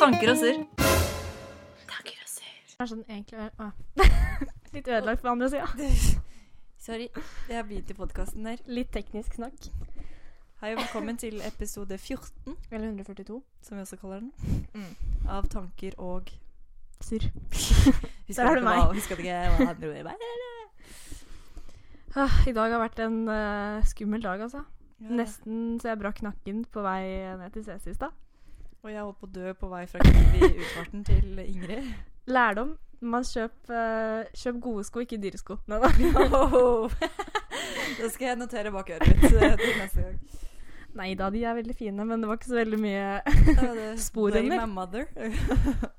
Tanker og surr. Tanker og surr. Det er sånn egentlig å. Litt ødelagt på andre sida. Sorry, jeg har begynt i podkasten der. Litt teknisk snakk. Hei og velkommen til episode 14, Eller 142. som vi også kaller den. Av tanker og Surr. Husker Der har ikke du hva- meg. Husker ikke hva han dro i meg. Ah, I dag har vært en eh, skummel dag, altså. Nesten så jeg brakk nakken på vei ned til CC i stad. Og jeg holdt på å dø på vei fra Kniv i utfarten til Ingrid. Lærdom. Man kjøp, eh, kjøp gode sko, ikke dyre sko. Nei da. Oh. Da skal jeg notere bak øret mitt eh, til neste gang. Nei da, de er veldig fine, men det var ikke så veldig mye Da er det Spor Blame under. my mother.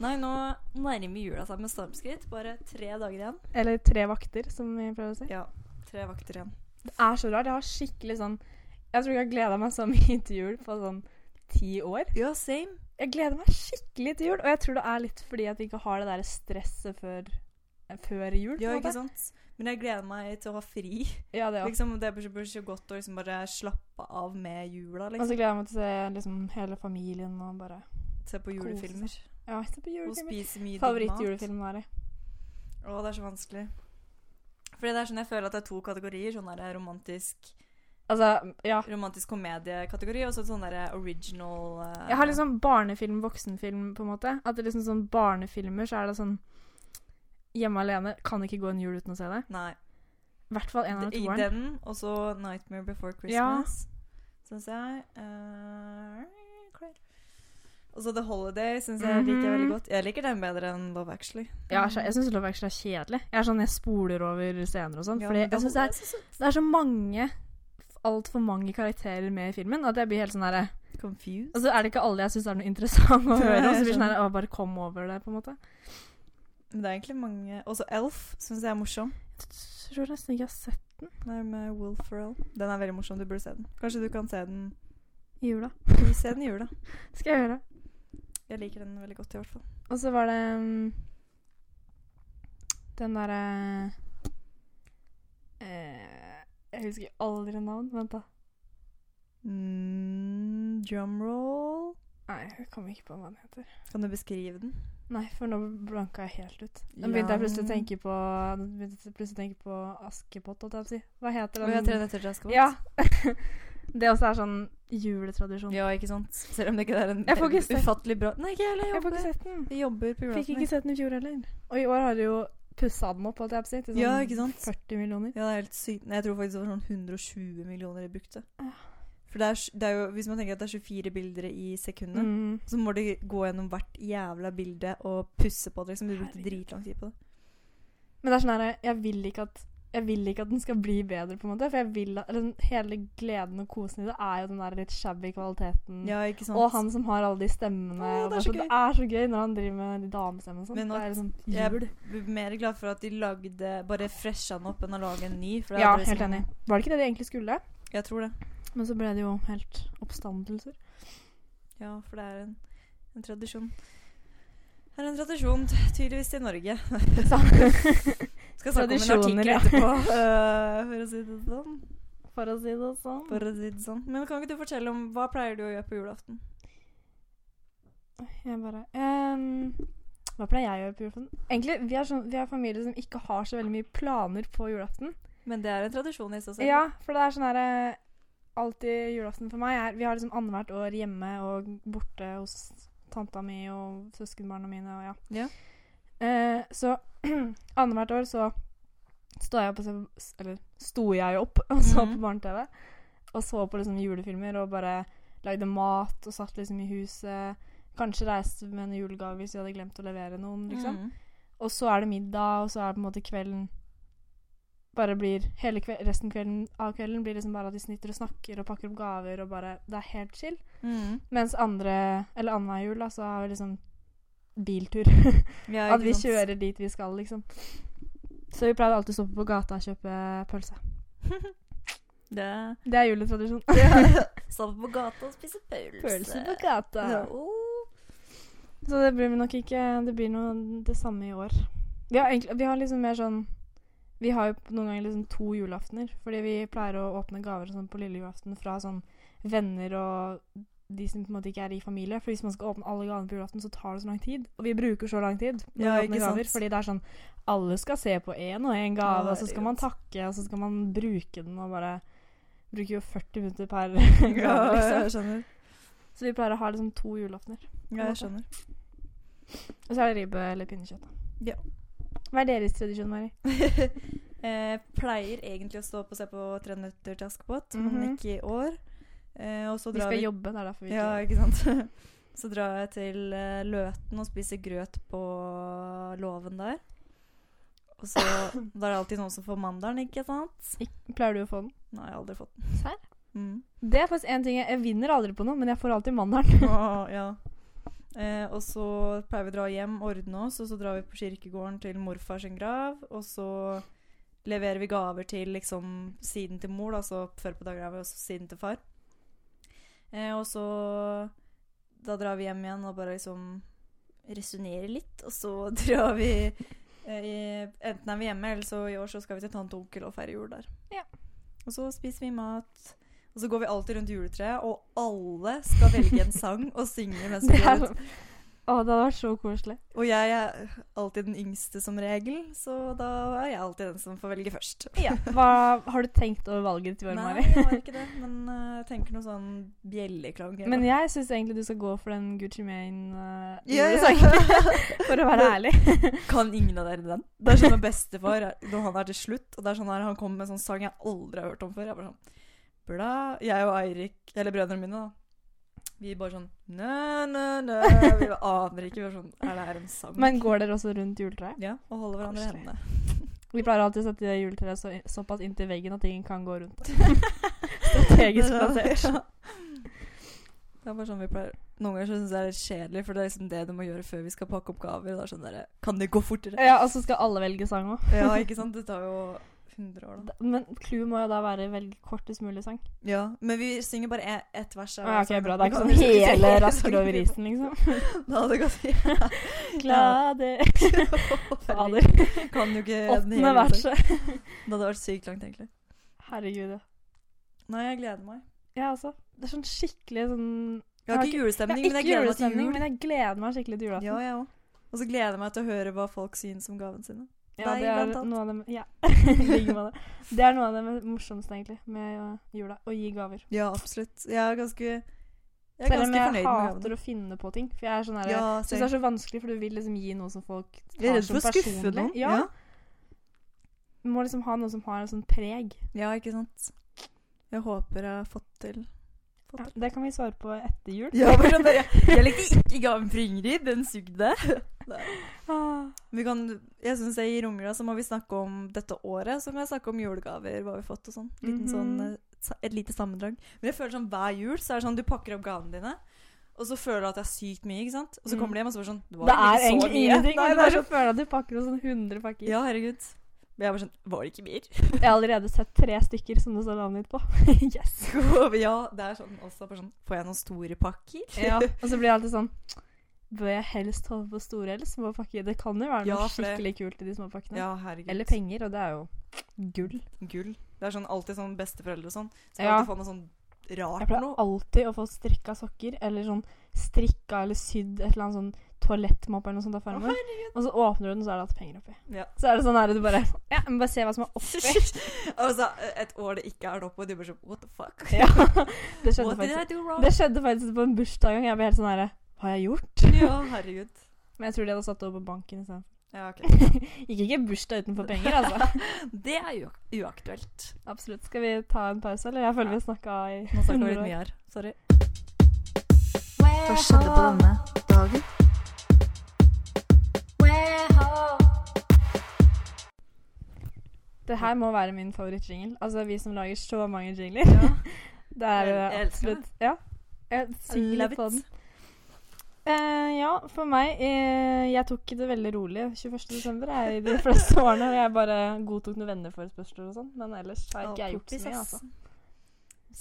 Nei, nå nærmer jula seg med stormskritt. Bare tre dager igjen. Eller tre vakter, som vi prøver å si. Ja, tre vakter igjen. Det er så rart. Jeg har skikkelig sånn Jeg tror ikke jeg har gleda meg så mye til jul på sånn ti år. Ja, same. Jeg gleder meg skikkelig til jul, og jeg tror det er litt fordi at vi ikke har det der stresset før, før jul. på Ja, en ikke måte. sant? Men jeg gleder meg til å ha fri. Ja, det også. Liksom, det blir så- blir så godt å liksom bare slappe av med jula. Og Liksom. så gleder jeg meg til å se liksom, hele familien og bare Se på julefilmer. Ja, se på Og julefilmer. spise mye digg mat. Favorittjulefilmen vår. Å, det er så vanskelig. Fordi det er sånn jeg føler at det er to kategorier. Sånn der romantisk, Altså, ja. romantisk komediekategori og så sånn der original eh, Jeg har liksom barnefilm, voksenfilm, på en måte. At det liksom sånn barnefilmer, så er det sånn Hjemme alene kan ikke gå en jul uten å se det. Nei. I hvert fall en av I toeren. den, og så 'Nightmare Before Ja. Christmas', syns jeg. Eh, klar. og så 'The Holiday' syns jeg liker Mhm. veldig godt. Jeg liker den bedre enn 'Love Actually'. Jeg, er så- jeg syns Love Actually er kjedelig. Jeg er sånn, jeg spoler over scener og sånn. Ja, fordi men The jeg synes det er Holiday så Det er så mange Altfor mange karakterer med i filmen at jeg blir helt sånn derre Confused. Og så er det ikke alle jeg syns er noe interessant å høre. Og så blir det sånn Skjønner. her, å, bare kom over det, på en måte. Men det er egentlig mange Også 'Elf' syns jeg er morsom. Jeg tror nesten ikke jeg har sett Den er med Will Ferrell. Den er veldig morsom. Du burde se den. Kanskje du kan se den i jula. Du se den i jula. Skal jeg gjøre. Jeg liker den veldig godt, i hvert fall. Og så var det mm, den derre eh, Jeg husker aldri navn. Vent, da. Mm, drum roll. Nei, jeg kommer ikke på hva den heter. Kan du beskrive den? Nei, for nå blanka jeg helt ut. Nå begynte jeg plutselig å Lang- tenke på Nå begynte jeg plutselig å tenke på Askepott, holdt jeg på å si. Hva heter Å, ja, den? Tre nøtter til Askepott. Ja. det også er sånn juletradisjon. Ja, ikke sant? Selv om det ikke er en Jeg får ikke sett- ufattelig bra Nei, ikke heller. Jeg Jeg får jobber. ikke sett den. Vi jobber på Fikk julaften. ikke sett den i fjor heller. Og i år har de jo pussa den opp, holdt jeg på å si. Til sånn Ja, ikke sant? 40 millioner. Ja, det er helt sykt. Nei, Jeg tror faktisk det var sånn 120 millioner jeg brukte. Ja. For det er, s- det er jo, hvis man tenker at det er 24 bilder i sekundet, Mm. så må de gå gjennom hvert jævla bilde og pusse på det. liksom. Du brukte Herregud. dritlang tid på det. Men det er sånn her jeg vil ikke at jeg vil ikke at den skal bli bedre, på en måte. For jeg vil at, eller, den- hele gleden og kosen i det er jo den der litt shabby kvaliteten. Ja, ikke sant? Mm. Og han som har alle de stemmene. Å, det og er bare så sånn, det er så gøy når han driver med de damestemmene og sånn. Men Det er liksom jul. Jeg blir mer glad for at de lagde Bare fresha den opp enn å lage en ny. For det Ja, hadde liksom- helt enig. Var det ikke det de egentlig skulle? Jeg tror det. sånn- Men så ble det jo helt oppstandelser. Ja, for det er en, en tradisjon. Det er en tradisjon, t- tydeligvis, i Norge. Skal snakke om en Tradisjoner, artikkel ja. etterpå, eh, for å si det sånn. For å si det sånn. For å si det sånn. Men kan ikke du fortelle om hva pleier du å gjøre på julaften? Jeg bare ehm, Hva pleier jeg å gjøre på julaften? Egentlig, vi er, sånn, vi er familie som ikke har så veldig mye planer på julaften. Men det er en tradisjon i seg selv. Ja, for det er sånn herre Alltid julaften for meg er Vi har liksom annethvert år hjemme og borte hos tanta mi og søskenbarna mine og ja. Ja. Eh, så annethvert år så står jeg opp og ser på Eller sto jeg opp og så Mhm. på barne-TV. Og så på liksom julefilmer og bare lagde mat og satt liksom i huset. Kanskje reiste med en julegave hvis vi hadde glemt å levere noen, liksom. Mm. Og så er det middag, og så er det på en måte kvelden bare blir, hele kve Resten kvelden, av kvelden blir liksom bare at de snitter og snakker og pakker opp gaver og bare Det er helt chill. Mm. Mens andre, eller annenhver jul, da, så har vi liksom biltur. Ja, at ikke vi sant? kjører dit vi skal, liksom. Så vi pleide alltid å stoppe på gata og kjøpe pølse. Det Det er juletradisjon. Står på gata og spiser pølse. gata. Ja, oh. Så det blir nok ikke Det blir noe det samme i år. Vi har, egentlig, vi har liksom mer sånn Vi har jo noen ganger liksom to julaftener. Fordi vi pleier å åpne gaver og sånn på lille julaften fra sånn venner og de som på en måte ikke er i familie. For hvis man skal åpne alle gavene på julaften, så tar det så lang tid. Og vi bruker så lang tid. når Ja, vi åpner ikke sant. gaver, Fordi det er sånn Alle skal se på én og én gave, Ja, og så skal man herregud. takke, og så skal man bruke den og bare Bruker jo 40 minutter per Ja, gave, liksom. jeg skjønner. Så vi pleier å ha liksom to julaftener. Ja, jeg skjønner. Og så er det ribbe eller pinnekjøtt. da. Ja. Hva er deres tradisjon, Mari? Eh, pleier egentlig å stå opp og se på Tre nøtter til Askepott, men Mhm. ikke i år. Eh, og så Vi drar skal vi jobbe, det er derfor vi ikke Ja, ikke sant. Så drar jeg til eh, Løten og spiser grøt på låven der. Og så Da er det alltid noen som får mandelen, ikke sant? Pleier du å få den? Nå har jeg aldri fått den. Serr? Mm. Det er faktisk en ting jeg, jeg vinner aldri på noe, men jeg får alltid mandelen. Å, ja. Eh, og så pleier vi å dra hjem, ordne oss, og så drar vi på kirkegården til morfar sin grav. Og så leverer vi gaver til liksom siden til mor, da, så før på daggrava, og så siden til far. Eh, og så da drar vi hjem igjen og bare liksom resonnerer litt, og så drar vi eh, i, Enten er vi hjemme, eller så i år så skal vi til tante og onkel og feire jul der. Ja. Og så spiser vi mat. Og så går vi alltid rundt juletreet, og alle skal velge en sang og synge mens vi Det går er, rundt. sånn- å, det hadde vært så koselig. Og jeg er alltid den yngste som regel, så da er jeg alltid den som får velge først. Hva, har du tenkt over valget til i år, Nei, Mari? jeg har ikke det, men eh, jeg tenker noe sånn bjelleklang. Men jeg syns egentlig du skal gå for den Gucci Mane-sangen, Ja, ja. for å være ærlig. Kan ingen av dere den? Det er sånn at bestefar er- når han er til slutt, og det er sånn her, han kommer med en sånn sang jeg aldri har hørt om før. Jeg bare sånn bla, Jeg og Eirik, eller brødrene mine, da. Vi bare sånn Nø, nø, nø. Vi bare aner ikke. Vi var sånn Er det her en sang? Men går dere også rundt juletreet? ja, og holder hverandre i Koselig. hendene. Vi pleier alltid å sette juletreet så, såpass inntil veggen at ingen kan gå rundt. Strategisk plassert. Ja. Det er bare sånn vi pleier Noen ganger så synes jeg det er litt kjedelig, for det er liksom det du må gjøre før vi skal pakke opp gaver. Det er sånn der, Kan det gå fortere? Ja, og så skal alle velge sang òg. Ja, ikke sant? Det tar jo 100 år, da. Men clouet må jo da være velge kortest mulig sang. Ja, men vi synger bare e- ett vers. av Ah, ja, sangen. ok, bra. Det Vi er ikke kan sånn ikke synge hele hele Raskere over sangen. isen, liksom. Da hadde det gått helt Glade Fader. Kan jo ikke den Åttende hele sangen. verset. Det hadde vært sykt langt, egentlig. altså. Herregud, ja. Nei, jeg gleder meg. Ja, altså. Det er sånn skikkelig sånn Jeg har ikke julestemning, men jeg gleder meg til jul. men jeg gleder meg skikkelig til julaften. Ja, jeg òg. Og så gleder jeg meg til å høre hva folk synes om gavene sine. Ja, Deg, det er blant annet. noe av det Ja. I like måte. Det er noe av det me- morsomste, egentlig, med øh, jula. Å gi gaver. Ja, absolutt. Jeg er ganske Jeg er ganske Selv om jeg fornøyd med hater gavene. å finne på ting. For jeg er sånn her, Ja, jeg synes det er så vanskelig, for du vil liksom gi noe som folk Jeg er tar redd for som å skuffe personlig. noen. Ja, Du må liksom ha noe som har en sånn preg. Ja, ikke sant. Jeg håper jeg har fått til. Ja, det kan vi svare på etter jul. bare sånn der, jeg, jeg likte ikke gaven fra Ingrid. Den sugde. Ah, Vi kan, jeg syns jeg gir unger, da, så må vi snakke om dette året. Så må jeg snakke om julegaver, hva vi har fått og sånn. Liten Mhm. sånn eh, sa- Et lite sammendrag. Men jeg føler sånn hver jul så er det sånn du pakker opp gavene dine. Og så føler du at det er sykt mye, ikke sant? Og så Mm. kommer du hjem og så er det sånn Det var det er ikke så egentlig mye. ingenting. Nei, men du det er bare sånn, føler at du pakker noen sånn 100 pakker. ja, herregud. Men jeg var sånn Var det ikke mer? Jeg har allerede sett tre stykker som det står navnet mitt på. yes! Går vi- Ja, det er sånn også. Bare sånn, får jeg noen store pakker? Ja, og så blir jeg alltid sånn Bør jeg helst holde på store eller små pakker? Det kan jo være noe Ja, for det- skikkelig kult i de små pakkene. Ja, herregud. Eller penger, og det er jo gull. Gull. Det er sånn alltid sånn besteforeldre og sånn. Skal Ja. alltid få noe sånn Jeg rart pleier noe. alltid å få strikka sokker, eller sånn strikka eller sydd et eller annet sånn toalettmopp eller noe sånt av Å, farmor. Og så åpner du den, så er det alt penger oppi. Ja. Så er det sånn her du bare Ja, men bare se hva som er oppi. altså, et år det ikke er noe på, og de bare sånn What the fuck? Ja, det skjedde What did I faktisk do wrong? Det skjedde faktisk på en bursdag en gang. Jeg ble helt sånn herre Hva har jeg gjort? Ja, herregud. Men jeg tror de hadde satt det over på banken istedenfor. Ja, ok. Gikk ikke bursdag utenfor penger, altså. Det er jo uaktuelt. Absolutt. Skal vi ta en pause, eller? Jeg føler vi snakka i Nå snakker vi 100 litt år. mye her. Sorry. Hva skjedde på denne dagen? Det her må være min favorittjingle. Altså, vi som lager så mange jingler. Ja. Det er Jeg- eh, jeg elsker absolutt Ja. Jeg synger litt på den. Eh, ja, for meg eh, Jeg tok det veldig rolig 21. desember jeg, i de fleste årene. Og jeg bare godtok noen venneforespørsler og sånn. Men ellers har ikke jeg gjort så mye. Altså.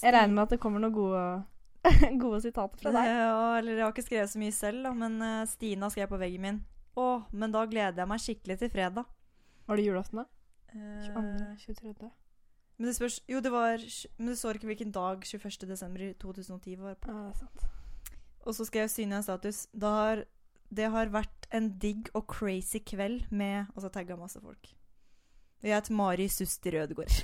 Jeg regner med at det kommer noen gode, gode sitater fra deg. Ja, Eh, eller jeg har ikke skrevet så mye selv, da, men eh, Stina skrev på veggen min. Å, men da gleder jeg meg skikkelig til fredag. Eh, Var det julaften, da? Eh, 22.? 23.? Men det spørs Jo, det var Men det står ikke hvilken dag 21. desember i 2010 var på. Ja, det er sant. Og så skrev Synja en status. Da har Det har vært en digg og crazy kveld med Og så tagga masse folk. Og jeg heter Mari Suster Ødegård.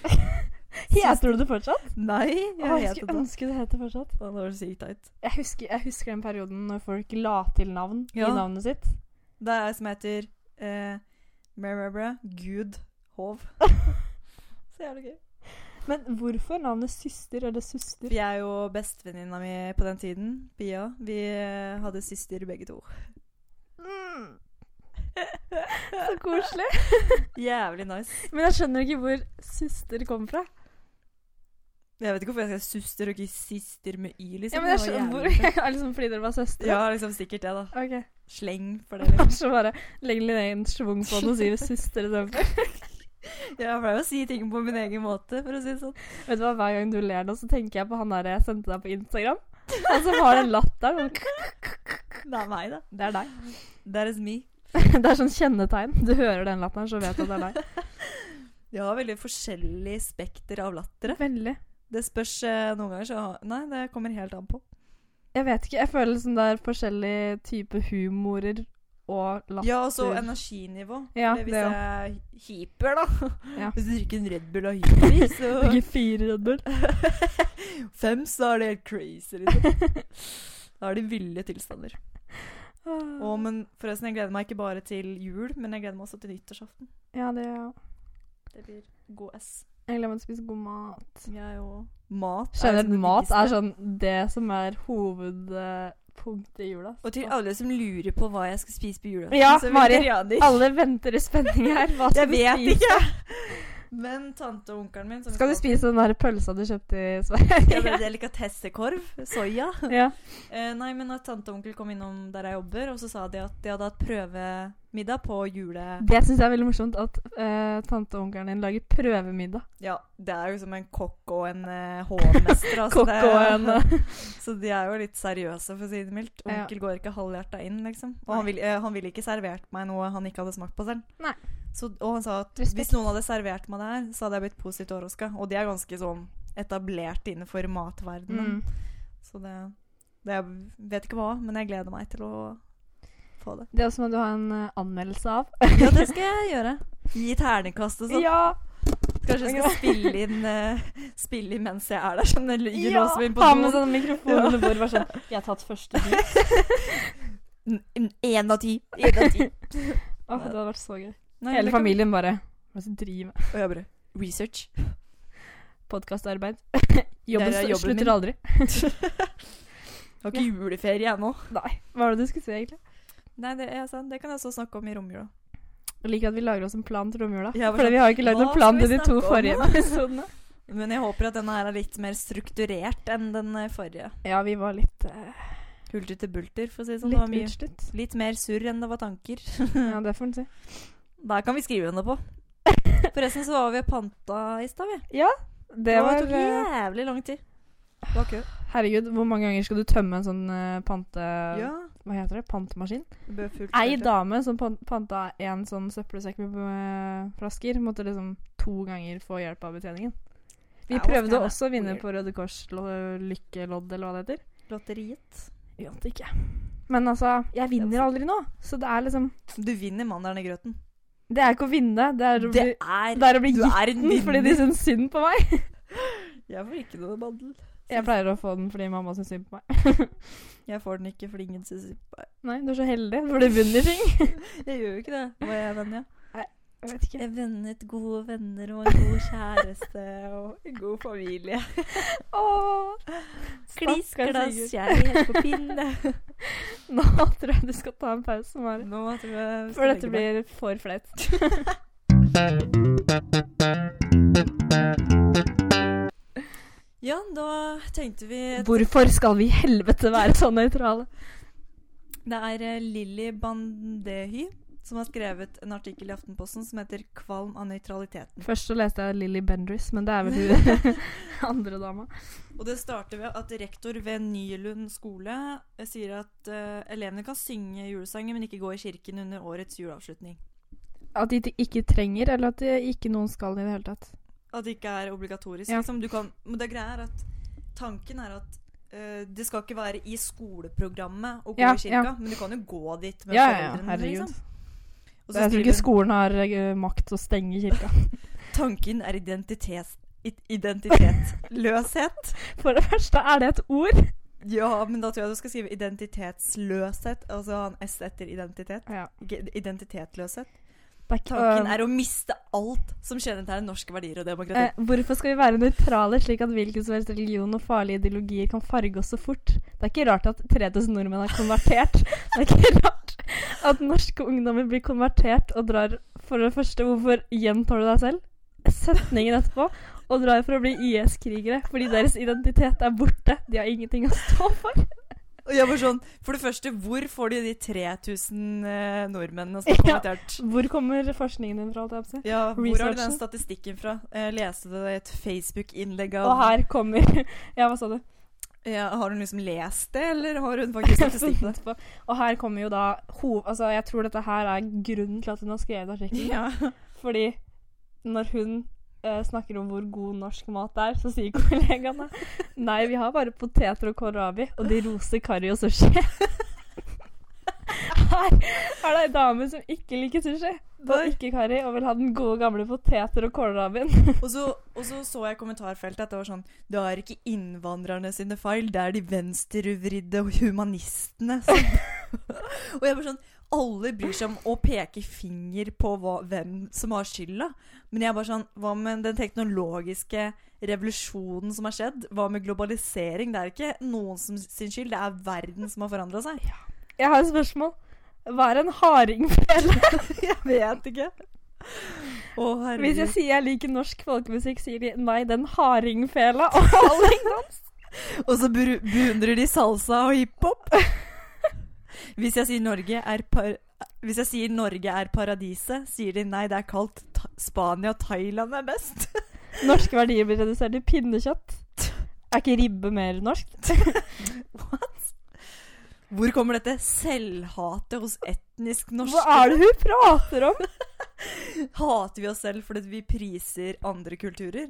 Heter du det fortsatt? Nei, Å, jeg jeg heter skulle det. ønske det het det fortsatt. Å, Det var sykt teit. Jeg husker, jeg husker den perioden når folk la til navn Ja. i navnet sitt. Det er jeg som heter eh, Mæ, mæ, mæ, Gud Hov. Så jævlig gøy. Men hvorfor navnet søster eller søster? For jeg og bestevenninna mi på den tiden, Pia, vi eh, hadde søster begge to. Mm. Så koselig. Jævlig nice. Men jeg skjønner ikke hvor søster kom fra. Jeg vet ikke hvorfor jeg skrev søster og ikke sister med y, liksom. Ja, men Det jeg var skjønner hvor, jævlig fett. er det liksom Fordi dere var søstre? Ja, liksom sikkert det, da. Ok. Sleng for det. Liksom. Så bare legg litt en schwung på den og sier søster istedenfor. Jeg pleier å si ting på min egen måte, for å si det sånn. Vet du hva, hver gang du ler nå, så tenker jeg på han der jeg sendte deg på Instagram. Han som har den latteren. sånn, Det er meg, da. Det er deg. That is me. Det er sånn kjennetegn. Du hører den latteren, så vet du at det er deg. Jeg har veldig forskjellig spekter av latter. jeg. Veldig. Det spørs eh, noen ganger, så Nei, det kommer helt an på. Jeg vet ikke. Jeg føler liksom det er forskjellige typer humorer og latter. Ja, og så energinivå. Ja, Eller hvis det jeg òg. er hyper, da. Ja. Hvis du drikker en Red Bull og er hyper, så Ikke fire Red Bull. Fem, så er det helt crazy, liksom. Da er det ville tilstander. Mm. Å, men forresten, jeg gleder meg ikke bare til jul, men jeg gleder meg også til nyttårsaften. Ja, det ja. Det blir god S. Jeg gleder meg til å spise god mat. Jeg òg. Mat er Generelt liksom det mat diggeste. er sånn det som er hovedpunktet i jula. Og til alle som lurer på hva jeg skal spise på julaften, Ja, så Mari. vet dere det. Alle venter i spenning her. Hva Jeg skal du vet spise? ikke! Men tante og onkelen min som Skal du skal- spise den der pølsa du kjøpte i Sverige? Ja, det er Delikatessekorv. Soya. ja. Eh, nei, men at tante og onkel kom innom der jeg jobber, og så sa de at de hadde hatt prøvemiddag på jule... Det syns jeg er veldig morsomt, at eh, tante og onkelen din lager prøvemiddag. Ja, det er jo som en kokk og en eh, hovmester. altså, Kokk det- og en eh, Så de er jo litt seriøse, for å si det mildt. Ja. Onkel går ikke halvhjerta inn, liksom. Og han, vil, eh, han ville ikke servert meg noe han ikke hadde smakt på selv. Nei. Så, og han sa at hvis Respekt. noen hadde servert meg det her, så hadde jeg blitt positivt overraska. Og de er ganske sånn etablert innenfor matverdenen. mm. Så det, det Jeg vet ikke hva, men jeg gleder meg til å få det. Det også må du ha en eh, anmeldelse av. Altså, Ja, det skal jeg gjøre. Gi ternekast og sånn. Ja! Kanskje jeg skal spille inn, eh, spille inn mens jeg er der, sånn den lyden ja. låser meg inn på Ha med doen. sånn mikrofon under bordet, bare sånn Jeg har tatt første bit. Én av ti. En av ti. Åh, det hadde vært så gøy. Nei, det Hele kan- familien bare Hva er det som driver med Og jeg bare Research. podkastarbeid? er Jobben, jobben slutter min. aldri. Jeg har ikke juleferie ennå. Nei. Hva var det du skulle si, egentlig? Nei, det, er sant. det kan jeg også snakke om i romjula. Jeg liker at vi lager oss en plan til romjula. Ja, bare Fordi sånn, vi har jo ikke lagd hva en plan skal til vi de to snakke om forrige nå? episodene. Men jeg håper at denne her er litt mer strukturert enn den eh, forrige. Ja, vi var litt, eh, Hulter til bulter, for å si det sånn. Det var litt mye. utslitt. Litt mer surr enn det var tanker. Ja, det får en si. Der kan vi skrive under på. Forresten så var vi og panta i stad, vi. Det var tok eh, jævlig lang tid. Det var kø. Herregud, hvor mange ganger skal du tømme en sånn eh, pante... Ja. Hva heter det? Pantemaskin? det ble fullt Ei kjørt. dame som pan- panta en sånn søppelsekk med eh, flasker, måtte liksom to ganger få hjelp av betjeningen. Vi Ja, prøvde ofte er det også å vinne weird. på Røde Kors lo- lykkelodd, eller hva det heter. Lotteriet. Vi vant ikke. Men altså, jeg vinner aldri nå, så det er liksom Du vinner mandelen i grøten. Det er ikke å vinne, det er å bli, Det er det er å bli Du gitt er en fordi de vinner. syns synd på meg. Jeg får ikke noe mandel. Jeg pleier å få den fordi mamma syns synd på meg. Jeg får den ikke fordi ingen syns Nei, du er så heldig. Du blir vunnet ting. Jeg gjør jo ikke det. Var jeg venn, ja? Jeg vet ikke. Jeg vennet gode venner og en god kjæreste og en god familie. Åh. Kliss Stakkars glass Sigurd. kjærlighet på pinne. Nå tror jeg du skal ta en pause, Mari. Nå tror jeg vi skal For dette legge meg. blir for flaut. Ja, da tenkte vi at Hvorfor skal vi i helvete være så nøytrale? Det er eh, Lilly Bandehy som har skrevet en artikkel i Aftenposten som heter 'Kvalm av nøytraliteten'. Først så leste jeg Lilly Bendriss, men det er vel hun andre dama. Og det starter ved at rektor ved Nylund skole eh, sier at eh, elevene kan synge julesanger, men ikke gå i kirken under årets juleavslutning. At de ikke trenger, eller at de ikke noen skal i det hele tatt. At det ikke er obligatorisk. Ja. Liksom. Du kan, men det greia er at tanken er at eh, det skal ikke være i skoleprogrammet å gå Ja, i kirka, ja. men du kan jo gå dit med Ja, ja, ja, foreldrene. herregud. Liksom. Og så Jeg tror skriver ikke skolen har eh, makt til å stenge kirka. hun, tanken er identitet. i- Identitetløshet. For det første, er det et ord? Ja, men da tror jeg du skal skrive identitetsløshet. Altså ha en S etter identitet. Ja. Ikke Identitetløshet. Det er ikke, Tanken er å miste alt som kjennetegner norske verdier og demokrati. Eh, hvorfor skal vi være nøytrale, slik at hvilken som helst religion og farlige ideologier kan farge oss så fort? Det er ikke rart at 3000 nordmenn er konvertert. Det er ikke rart at norske ungdommer blir konvertert og drar For det første, hvorfor gjentar du deg selv? Setningen etterpå. Og drar for å bli IS-krigere, fordi deres identitet er borte. De har ingenting å stå for. Og jeg var sånn, For det første, hvor får de de 3000 eh, nordmennene som har Ja. kommentert? Hvor kommer forskningen din fra? holdt jeg på å si? Ja, hvor har du den Researchen. statistikken fra? Jeg leste det i et Facebook-innlegg av Og her kommer Ja, hva sa du? ja, Har hun liksom lest det, eller har hun faktisk statistikk på det? Etterpå. Og her kommer jo da hov... Altså, jeg tror dette her er grunnen til at hun har skrevet artikkelen. Ja. Fordi når hun eh, snakker om hvor god norsk mat er, så sier kollegaene Nei, vi har bare poteter og kohlrabi, og de roser karri og sushi. Her er det ei dame som ikke liker sushi og Nei. ikke karri, og vil ha den gode gamle poteter og kålrabien. Og, så, og så så jeg i kommentarfeltet at det var sånn Det er ikke innvandrerne sine feil, det er de venstrevridde og humanistene. som-» og jeg var sånn Alle bryr seg om å peke finger på hva, hvem som har skylda. Men jeg er bare sånn Hva med den teknologiske revolusjonen som har skjedd? Hva med globalisering? Det er ikke noen som sin skyld, det er verden som har forandra seg. Jeg har et spørsmål. Hva er en hardingfele? Jeg vet ikke. Å, Hvis jeg herregud. sier jeg liker norsk folkemusikk, sier de nei, den hardingfela og all ungdom. Og så bru- beundrer de salsa og hiphop. Hvis jeg sier Norge er par... Hvis jeg sier Norge er paradiset, sier de nei, det er kaldt. Ta Spania og Thailand er best. Norske verdier blir redusert til pinnekjøtt. Er ikke ribbe mer norsk? Hvor kommer dette selvhatet hos etnisk norske? Hva er det hun prater om? Hater vi oss selv fordi vi priser andre kulturer?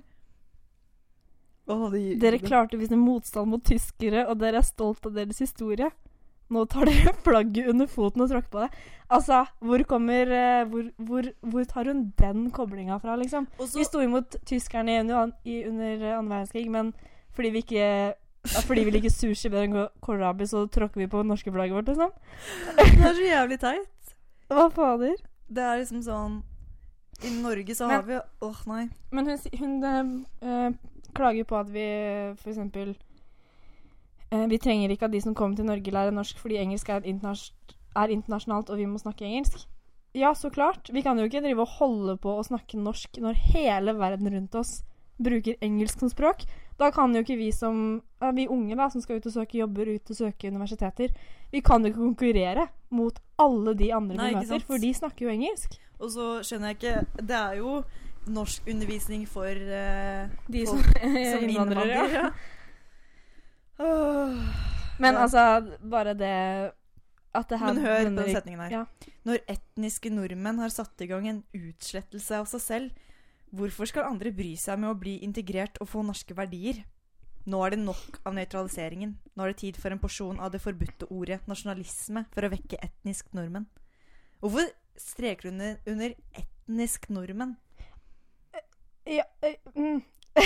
Å, det gir- Dere klarte å vise motstand mot tyskere, og dere er stolt av deres historie. Nå tar dere flagget under foten og tråkker på det. Altså, hvor kommer eh, Hvor, hvor, hvor tar hun den koblinga fra, liksom? Og så- Vi sto imot tyskerne i under, i, under eh, andre verdenskrig, men fordi vi ikke ja, fordi vi liker sushi bedre enn ko- kålrabi, så tråkker vi på norske flagget vårt, liksom. det er så jævlig teit. Hva fader? Det er liksom sånn I Norge så Men- har vi Åh, nei. Men hun, si- hun eh, eh, klager på at vi f.eks. Uh, vi trenger ikke at de som kommer til Norge, lærer norsk fordi engelsk er, et internas er internasjonalt og vi må snakke engelsk. Ja, så klart. Vi kan jo ikke drive og holde på å snakke norsk når hele verden rundt oss bruker engelsk som språk. Da kan jo ikke vi som ja, vi unge da, som skal ut og søke jobber, ut og søke universiteter, vi kan jo ikke konkurrere mot alle de andre Nei, vi ikke møter, sant? for de snakker jo engelsk. Og så skjønner jeg ikke Det er jo norskundervisning for eh, De folk som innvandrere. Ja. Åh. Men Ja. altså, bare det at det her Men hør på denne- den setningen her. Ja. Når etniske nordmenn har satt i gang en utslettelse av seg selv, hvorfor skal andre bry seg med å bli integrert og få norske verdier? Nå er det nok av nøytraliseringen. Nå er det tid for en porsjon av det forbudte ordet nasjonalisme for å vekke etnisk nordmenn. Hvorfor streker du under, under etnisk nordmenn? Ja, eh, mm.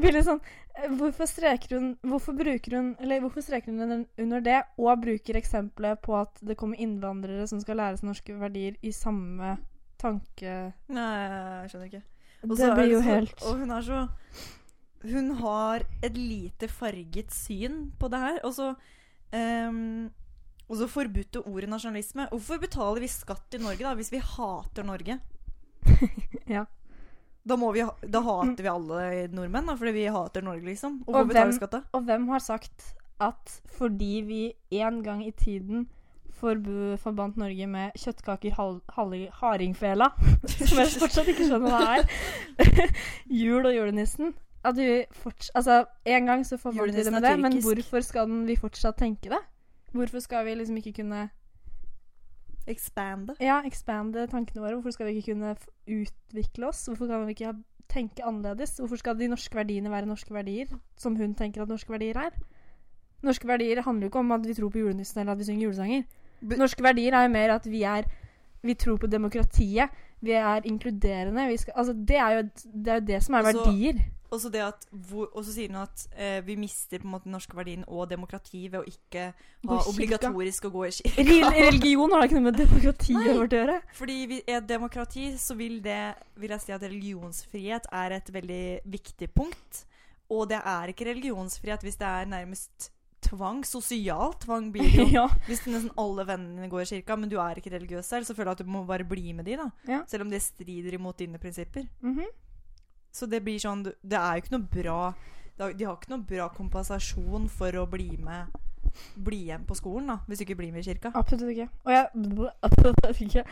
Blir litt sånn eh, Hvorfor streker hun Hvorfor bruker hun Eller hvorfor streker hun den under det, og bruker eksempelet på at det kommer innvandrere som skal lære seg norske verdier, i samme tanke Nei, jeg skjønner ikke. Og så Det er blir jo så- helt Og hun er så Hun har et lite farget syn på det her. Og så ehm, Og så forbudte ordet nasjonalisme. Hvorfor betaler vi skatt i Norge da hvis vi hater Norge? Ja. Da, må vi, ha- da hater vi alle nordmenn, da, fordi vi hater Norge, liksom. Og Og hvor betaler vi hvem- skatt da? Og hvem har sagt at fordi vi en gang i tiden forbu, forbandt Norge med kjøttkaker, hal, halli- hardingfela, som jeg fortsatt ikke skjønner hva er, jul og julenissen at vi forts altså, En gang så forbandt vi det Julenissen med er det, men tyrkisk. hvorfor skal den, vi fortsatt tenke det? Hvorfor skal vi liksom ikke kunne Expande. ja, expande tankene våre? Hvorfor skal vi ikke kunne f- utvikle oss? Hvorfor kan vi ikke ha tenke annerledes. Hvorfor skal de norske verdiene være norske verdier, som hun tenker at norske verdier er? Norske verdier handler jo ikke om at vi tror på julenissen eller at vi synger julesanger. Bu- norske verdier er jo mer at vi er Vi tror på demokratiet. Vi er inkluderende. Vi skal, altså, det, er jo, det er jo det som er Altså, verdier. Og så det at hvor, og så sier hun at eh, vi mister på en måte den norske verdien og demokrati ved å ikke Gå ha i kirka. obligatorisk å gå i kirka. Rel- Religion har da ikke noe med demokrati Nei. å gjøre. Fordi vi er demokrati, så vil det vil jeg si at religionsfrihet er et veldig viktig punkt. Og det er ikke religionsfrihet hvis det er nærmest tvang. Sosial tvang blir det jo. ja. Hvis nesten alle vennene dine går i kirka, men du er ikke religiøs selv, så føler jeg at du må bare bli med de, da. Ja. Selv om det strider imot dine prinsipper. Mhm. Så det blir sånn du- Det er jo ikke noe bra det er- De har ikke noe bra kompensasjon for å bli med Bli igjen på skolen, da, hvis du ikke blir med i kirka. Absolutt ikke. Og jeg fikk jeg.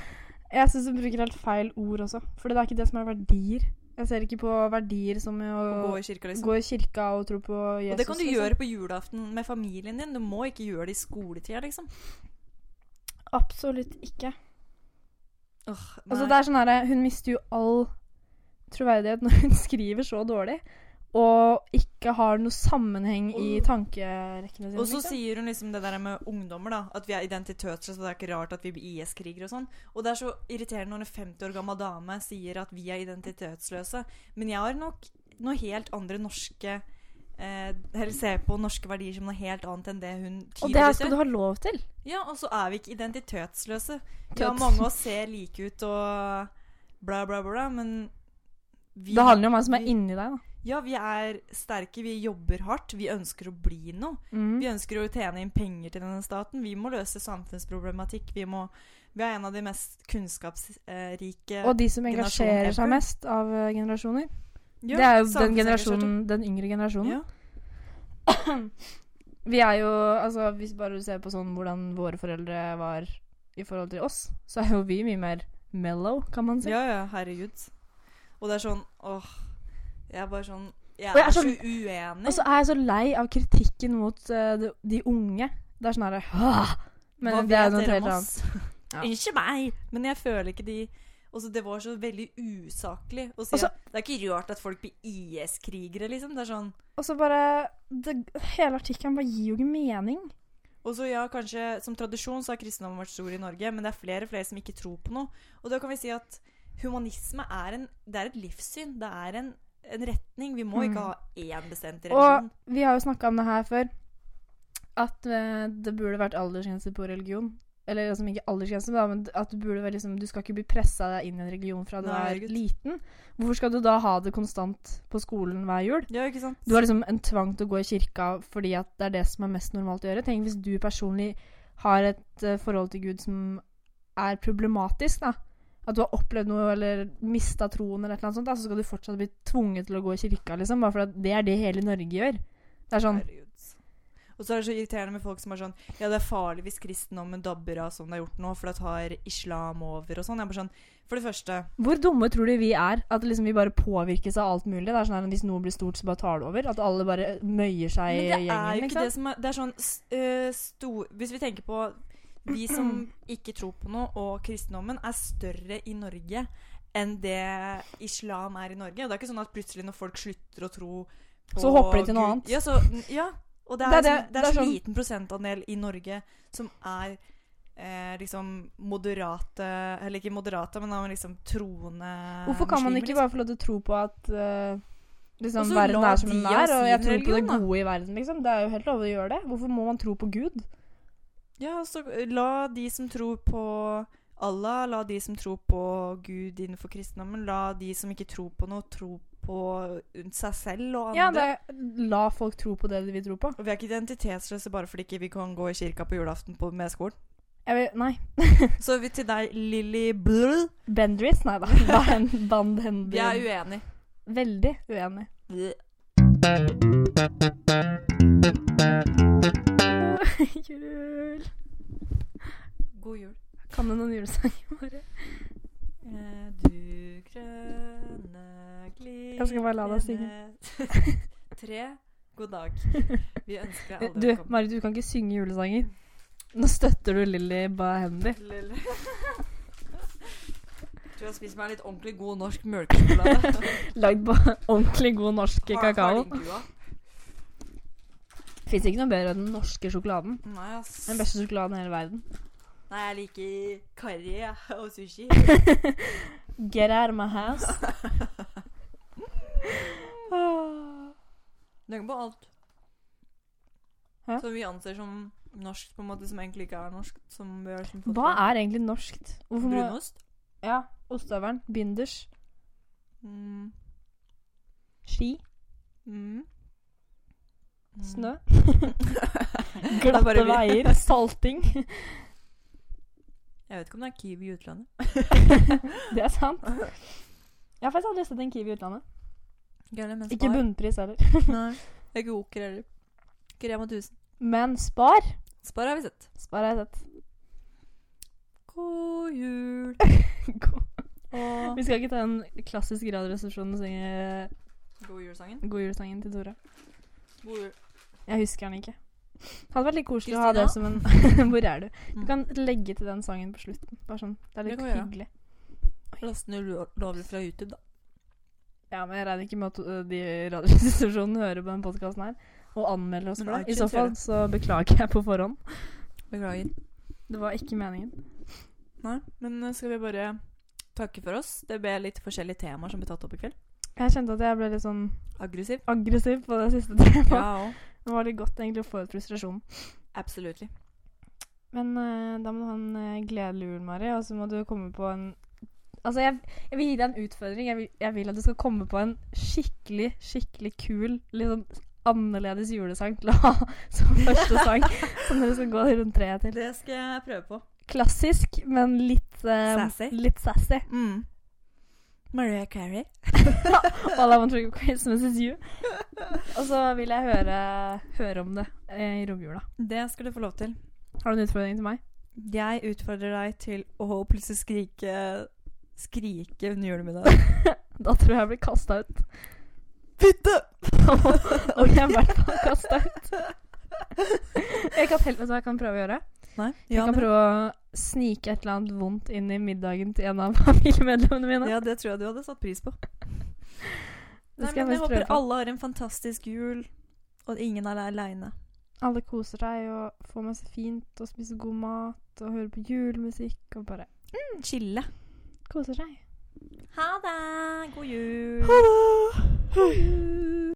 Jeg syns du bruker helt feil ord også. For det er ikke det som er verdier. Jeg ser ikke på verdier som å, Å gå i kirka, liksom. gå i kirka og tro på Jesus. Og det kan du liksom. gjøre på julaften med familien din. Du må ikke gjøre det i skoletida, liksom. Absolutt ikke. Åh, nei. Altså, det er sånn her, Hun mister jo all troverdighet når hun skriver så dårlig. Og ikke har noe sammenheng i tankerekkene sine. og så liksom. sier hun liksom det der med ungdommer, da. At vi er identitetsløse, så det er ikke rart at vi blir IS-krigere og sånn. Og det er så irriterende når en 50 år gammel dame sier at vi er identitetsløse. Men jeg har nok noe helt andre norske eh, Eller ser på norske verdier som noe helt annet enn det hun og det her tydeligvis skal du ha lov til. Ja, og så er vi ikke identitetsløse. Ja, Tøts. mange av oss ser like ut og bla, bla, bla, men vi det handler jo om hva som vi- er inni deg. da. Ja, vi er sterke, vi jobber hardt, vi ønsker å bli noe. Mm. Vi ønsker å tjene inn penger til denne staten. Vi må løse samfunnsproblematikk. Vi, må, vi er en av de mest kunnskapsrike Og de som engasjerer generasjonen seg ever. mest av eh, generasjoner. Ja, det er jo den, samfunnsengasjerte. generasjonen, liksom. den yngre generasjonen. Ja. Vi er jo, altså Hvis bare du ser på sånn hvordan våre foreldre var i forhold til oss, så er jo vi mye mer mellow, kan man si. ja, ja, herregud. Og det er sånn Åh. Jeg er bare sånn Jeg Og er jeg er altså, så så- uenig. Og så er jeg så lei av kritikken mot eh, de, de unge. Det er sånn herre «Åh!» Men Hva det er vet noe dere om helt annet. oss? Ja. Ikke meg! Men jeg føler ikke de også, Det var så veldig usaklig å si Også- at det er ikke rart at folk blir IS-krigere, liksom. Det er sånn Og så bare det, Hele artikkelen bare gir jo ikke mening. Og så ja, kanskje Som tradisjon så har kristendommen vært stor i Norge, men det er flere og flere som ikke tror på noe. Og da kan vi si at humanisme er, en, det er et livssyn. Det er en, en retning. Vi må Mm. ikke ha én bestemt Og religion. vi har jo snakka om det her før, at eh, det burde vært aldersgrense på religion. Eller liksom ikke aldersgrense, da, men at du, burde vel liksom, du skal ikke bli pressa inn i en religion fra du Nei, er gutt. liten. Hvorfor skal du da ha det konstant på skolen hver jul? ja, ikke sant? Du har liksom en tvang til å gå i kirka fordi at det er det som er mest normalt å gjøre. Tenk hvis du personlig har et eh, forhold til Gud som er problematisk, da. At du har opplevd noe eller mista troen eller et eller annet sånt, da, så skal du fortsatt bli tvunget til å gå i kirka, liksom. Bare fordi det er det hele Norge gjør. Det er sånn Herregud. Og så er det så irriterende med folk som er sånn Ja, det er farlig hvis kristendommen dabber av som det har gjort nå, for da tar islam over og sånn. Jeg er bare sånn For det første Hvor dumme tror du vi er? At liksom vi bare påvirkes av alt mulig? Det er sånn her, Hvis noe blir stort, så bare tar det over? At alle bare møyer seg i Men det gjengen? er jo ikke liksom? det som er Det er sånn s- øh, sto, Hvis vi tenker på de som ikke tror på noe, og kristendommen, er større i Norge enn det islam er i Norge. Og det er ikke sånn at plutselig når folk slutter å tro på Så hopper de til noe Gud- annet. Ja, så, ja. og det er, Det er det- så, det er så sånn- liten prosentandel i Norge som er eh, liksom moderate Eller ikke moderate, men av liksom troende Hvorfor kan man muslimer, ikke liksom. bare få lov til å tro på at eh, Og liksom, så verden la er som de den ha er, og jeg sin tror på det religion, da. gode i verden, liksom? Det er jo helt lov å gjøre det. Hvorfor må man tro på Gud? Ja, så la de som tror på Allah, la de som tror på Gud innenfor kristendommen, la de som ikke tror på noe, tro på seg selv og andre. Ja, det, la folk tro på det de vil tro på. Og vi er ikke identitetsløse bare fordi ikke vi ikke kan gå i kirka på julaften på, med skolen. Jeg vil, nei. Så vi til deg, Lilly Blull. Bendris? Nei da. Bandhendy. Vi er uenige. Veldig uenig. Jul. God jul. Kan du noen julesanger bare? Eh, Du grønne glitrende Jeg skal bare la deg Tre. God dag. Vi ønsker deg alle Du, Marit, du kan ikke synge julesanger. Nå støtter du Lilly Bahendy. Lille. Tror jeg spiser meg litt ordentlig god norsk melkesjokolade. Lagd på ordentlig god norsk Har- kakao. hardingua. Fins ikke noe bedre enn den norske sjokoladen. Nei, ass. Den beste sjokoladen i hele verden. Nei, jeg liker karri jeg, og sushi. Get out of my house. Den går på alt. Hæ? Som vi anser som norsk, på en måte, som egentlig ikke er norsk. Som vi har liksom fått Hva fra er egentlig norskt? Hvorfor må Brunost? Ja. Ostehøvelen. Binders. Mm. Ski. Mm. Mm. Snø. er bare Glatte vi. veier. Salting. Jeg vet ikke om det er kiwi i utlandet. Det er sant. Jeg har faktisk aldri sett en kiwi i utlandet. Gjerne, men Ikke spar. bunnpris heller. Nei. Det er ikke oker heller. Krem og tusen. Men Spar Spar har vi sett. Spar har jeg sett. God jul. Og Vi skal ikke ta den klassiske radioresepsjonen og synge God jul-sangen. god julesangen til Tore. God jul. Jeg husker den ikke. Hadde vært litt koselig å ha det som en Kristina? Hvor er du? Du Mm. kan legge til den sangen på slutten. Bare sånn. Det er Det litt kan vi gjøre. hyggelig. Last ned lo- lovlig fra YouTube, da. Ja, men jeg regner ikke med at ø, de i radioinstitusjonene hører på den podkasten her og anmelder oss Men for det. I iTunes så gjør fall det. så beklager jeg på forhånd. Beklager. Det var ikke meningen. Nei, men eh, skal vi bare takke for oss? Det ble litt forskjellige temaer som ble tatt opp i kveld. Jeg kjente at jeg ble litt sånn Aggressiv. aggressiv på det siste temaet. Ja òg. Det var litt godt egentlig å få ut frustrasjonen. Absolutely. Men ø, da må du ha en ø, gledelig jul, Mari, og så må du komme på en Altså, jeg, jeg vil gi deg en utfordring. Jeg vil, jeg vil at du skal komme på en skikkelig, skikkelig kul, litt sånn annerledes julesang til å ha som første sang. som dere skal gå rundt treet til. Det skal jeg prøve på. Klassisk, men litt eh, Sassy. Litt sassy. Mm. Mariah Carey. All I want for Christmas is you. Og så vil jeg høre, høre om det eh, i romjula. Det skal du få lov til. Har du en utfordring til meg? Jeg utfordrer deg til å plutselig skrike Skrike under julemiddag. Da tror jeg jeg blir kasta ut. Bytte! Og jeg er i hvert fall kasta ut. Jeg kan, vet du hva jeg kan prøve å gjøre? Nei. Jeg kan prøve å snike et eller annet vondt inn i middagen til en av familiemedlemmene mine. Ja, det tror jeg du hadde satt pris på. Det Nei, men skal jeg jeg faktisk håper prøve på. alle har en fantastisk jul, og at ingen er aleine. Alle koser seg og får masse fint og spiser god mat og hører på julemusikk og bare Chille. koser seg. Ha det! God jul! Ha det!